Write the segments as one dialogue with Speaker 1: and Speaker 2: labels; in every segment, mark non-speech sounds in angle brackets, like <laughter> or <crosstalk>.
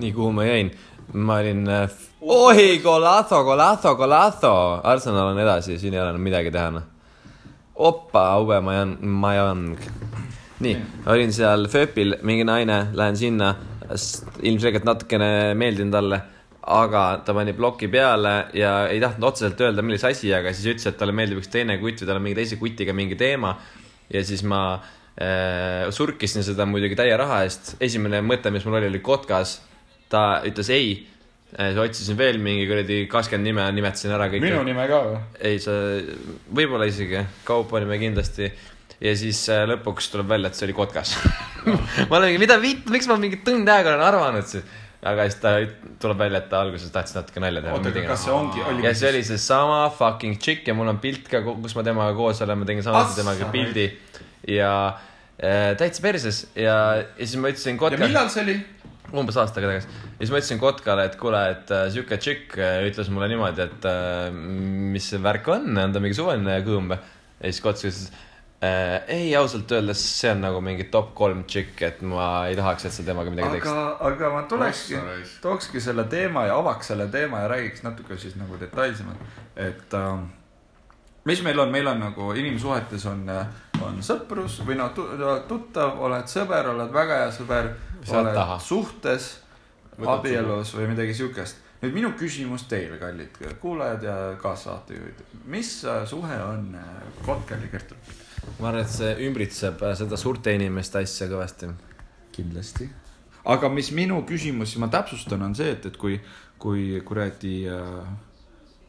Speaker 1: nii kuhu ma jäin , ma olin äh, f- oi , golazo , golazo , golazo , Arsenal on edasi , siin ei ole enam midagi teha , noh . opa , Aubameyang , Mayang . nii , olin seal FÖÖPil , mingi naine , lähen sinna , ilmselgelt natukene meeldin talle , aga ta pani ploki peale ja ei tahtnud otseselt öelda , milles asi , aga siis ütles , et talle meeldib üks teine kutt või tal on mingi teise kutiga mingi teema ja siis ma äh, surkisin seda muidugi täie raha eest . esimene mõte , mis mul oli , oli kotkas . ta ütles ei äh, , otsisin veel mingi kuradi kakskümmend nime , nimetasin ära kõik .
Speaker 2: minu nime ka või ?
Speaker 1: ei , sa , võib-olla isegi , kaupa olime kindlasti ja siis äh, lõpuks tuleb välja , et see oli
Speaker 2: <laughs>
Speaker 1: kotkas . ma olen , mida vitt , miks ma mingi tund aega olen arvanud siis , aga siis ta üt- tuleb välja , et ta alguses tahtis natuke nalja teha .
Speaker 2: oota , aga kas see ongi ,
Speaker 1: ja
Speaker 2: oligi
Speaker 1: see oli seesama fucking chick ja mul on pilt ka , kus ma temaga koos olen , ma tegin samuti
Speaker 2: Ah,
Speaker 1: temaga
Speaker 2: sa
Speaker 1: pildi ja äh, täitsa perses ja , ja siis ma ütlesin
Speaker 2: ja
Speaker 1: kotkale ,
Speaker 2: millal see oli ?
Speaker 1: umbes aasta aega tagasi , ja siis ma ütlesin kotkale , et kuule , et äh, sihuke tšikk äh, ütles mulle niimoodi , et äh, mis see värk on , on ta mingi suvaline kõõm või ? ja siis kots ütles äh, , ei ausalt öeldes see on nagu mingi top kolm tšikk , et ma ei tahaks , et sa temaga midagi teeks
Speaker 2: aga ., aga ma tulekski
Speaker 3: Ossa raisk. ,
Speaker 2: tookski selle teema ja avaks selle teema ja räägiks natuke siis nagu detailsemalt , et ähm, mis meil on , meil on nagu inimsuhetes on , on sõprus või noh , tuttav , oled sõber , oled väga hea sõber ,
Speaker 1: sa
Speaker 2: oled
Speaker 1: taha.
Speaker 2: suhtes , abielus või midagi siukest . nüüd minu küsimus teile , kallid kuulajad ja kaassaatejuhid , mis äh, suhe on äh, Kotkel ja Kertul ?
Speaker 1: ma arvan , et see ümbritseb äh, seda suurte inimeste asja kõvasti .
Speaker 2: kindlasti . aga mis minu küsimus , siis ma täpsustan , on see , et , et kui , kui kuradi , äh,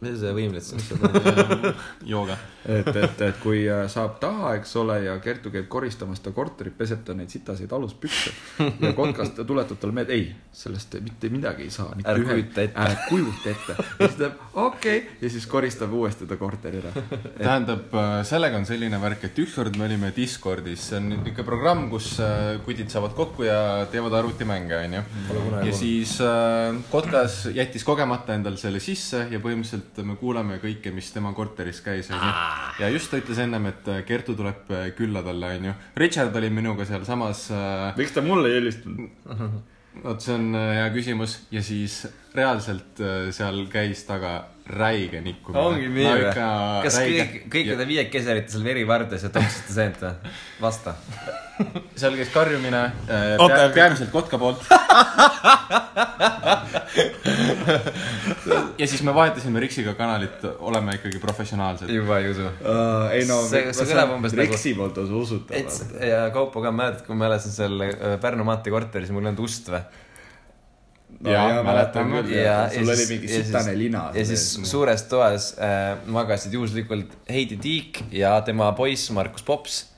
Speaker 1: mis see võimled siis on ?
Speaker 3: Ehm,
Speaker 1: <laughs>
Speaker 3: jooga .
Speaker 2: et , et , et kui äh, saab taha , eks ole , ja Kertu käib koristamas seda korterit , peseb ta neid sitaseid aluspükse ja kotkas ta tuletab talle meelde , ei , sellest mitte midagi ei saa .
Speaker 1: Ära kujuta ette.
Speaker 2: ära kujuta ette . ja siis ta ütleb okei okay. ja siis koristab uuesti ta korteri ära .
Speaker 3: tähendab , sellega on selline värk , et ükskord me olime Discordis , see on niisugune programm , kus äh, kutid saavad kokku ja teevad arvutimänge , onju . ja siis äh, Kotkas jättis kogemata endal selle sisse ja põhimõtteliselt me kuulame kõike , mis tema korteris käis ,
Speaker 1: Ah.
Speaker 3: onju . ja just ta ütles ennem , et äh, Kertu tuleb äh, külla talle , onju . Richard oli minuga sealsamas äh,
Speaker 2: miks ta mulle ei helistanud ?
Speaker 3: vot see on äh, hea küsimus ja siis reaalselt äh, seal käis taga räige nikkumine .
Speaker 1: ongi nii või ? kas kõik , kõikide viiekesi olite seal verivardes ja toksite seent või ? vasta .
Speaker 3: seal käis karjumine äh,
Speaker 1: Oota,
Speaker 3: pea,
Speaker 1: aga-
Speaker 3: peamiselt kotka poolt . ja siis me vahetasime Riksiga kanalit , oleme ikkagi professionaalsed .
Speaker 1: juba ei usu
Speaker 2: Äh, ei no ,
Speaker 1: See- see kõlab umbes nagu-
Speaker 2: Riksi poolt on see usutav .
Speaker 1: Ets- ja Kaupo ka , mäletad , kui ma elasin seal äh, Pärnu maantee korteris , mul ei olnud ust või ?
Speaker 3: Jaa,
Speaker 2: küll
Speaker 3: mäletan
Speaker 2: ja, . sul oli mingi sitane lina .
Speaker 1: ja siis suures toas äh, magasid juhuslikult Heidi Tiik ja tema poiss Markus Pops .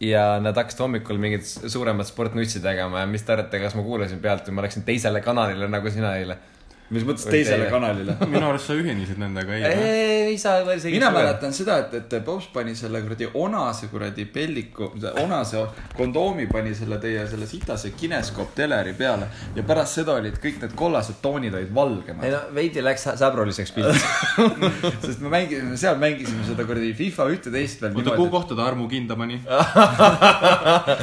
Speaker 1: ja nad hakkasid hommikul mingit s- suuremat sportnutsi tegema ja mis te arvate , kas ma kuulasin pealt või ma läksin teisele kanalile nagu sina eile ?
Speaker 2: mis mõttes
Speaker 1: Või
Speaker 2: teisele
Speaker 1: teie.
Speaker 2: kanalile ?
Speaker 3: minu arust sa ühinesid nendega , ei ?
Speaker 1: ei , ei saa veel isegi .
Speaker 2: mina . mäletan seda , et , et Pops pani selle kuradi onase kuradi pelliku , onase kondoomi pani selle teie selle sitase kineskoop teleri peale ja pärast seda olid kõik need kollased toonid olid
Speaker 1: ei
Speaker 2: valgemad .
Speaker 1: no veidi läks sä- säbruliseks
Speaker 2: <laughs>
Speaker 1: pilt .
Speaker 2: sest me mängisime , seal mängisime seda kuradi FIFA ühte-teist veel
Speaker 3: oota , kuhu
Speaker 2: niimoodi ,
Speaker 3: kohta ta Armu kinda pani ?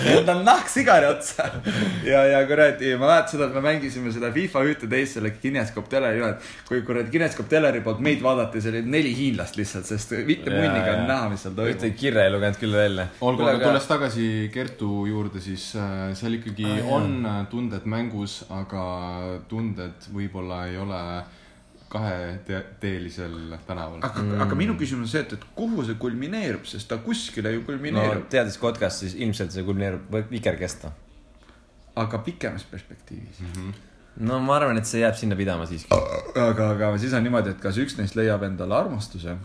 Speaker 2: et ta on nahksigari otsa . ja , ja kuradi , ma mäletan seda , et me mängisime seda FIFA ühte-teist selle kineskoop teleri üle , et kui kuradi kineskoop teleri poolt meid vaadati , seal oli neli hiinlast lihtsalt , sest mitte
Speaker 1: Jaa,
Speaker 2: munniga
Speaker 1: jaa.
Speaker 2: on näha , mis seal toimub
Speaker 1: ühtegi kirja ei lugenud küll välja .
Speaker 3: olgu , aga tulles tagasi Kertu juurde , siis äh, seal ikkagi ah, on äh, tunded mängus , aga tunded võib-olla ei ole kaheteelisel tänaval .
Speaker 2: aga mm. , aga minu küsimus on see , et , et kuhu see kulmineerub , sest ta kuskile ju
Speaker 1: no
Speaker 2: kulmineerub no. ,
Speaker 1: teades kotkast , siis ilmselt see kulmineerub vikerkesta
Speaker 2: aga pikemas perspektiivis
Speaker 1: Mhm.
Speaker 2: mm .
Speaker 1: no ma arvan , et see jääb sinna pidama siiski .
Speaker 2: -hmm. aga , aga siis on niimoodi , et kas üks neist leiab endale armastuse ?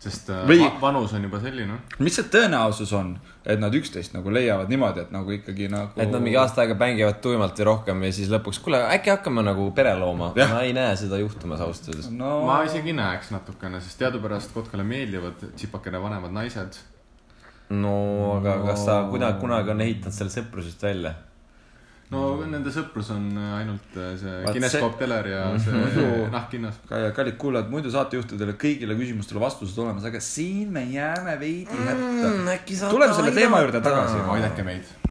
Speaker 3: sest äh,
Speaker 2: Või-
Speaker 3: va vanus on juba selline .
Speaker 2: mis see tõenäosus on , et nad üksteist nagu leiavad niimoodi , et nagu ikkagi nagu
Speaker 1: et nad mingi aasta aega bängivad tuimalt ja rohkem ja siis lõpuks , kuule , äkki hakkame nagu pere looma .
Speaker 2: Jah.
Speaker 1: ma ei näe seda juhtumas ausalt öeldes .
Speaker 2: no
Speaker 3: ma
Speaker 2: ma...
Speaker 3: isegi näeks natukene , sest teadupärast Kotkale meeldivad tsipakene vanemad naised .
Speaker 1: no aga kas sa kunagi , kunagi on ehitanud selle sõprusest välja ?
Speaker 3: no nende sõprus on ainult äh, see
Speaker 2: Vaat
Speaker 3: kineskoop teler ja see nahkhinnas .
Speaker 2: kallid kuulajad , muidu saatejuhtidele kõigile küsimustele vastused olemas , aga siin me jääme veidi hätta mm, .
Speaker 1: Hmm, äkki
Speaker 2: tuleme selle teema juurde tagasi .
Speaker 3: aidake meid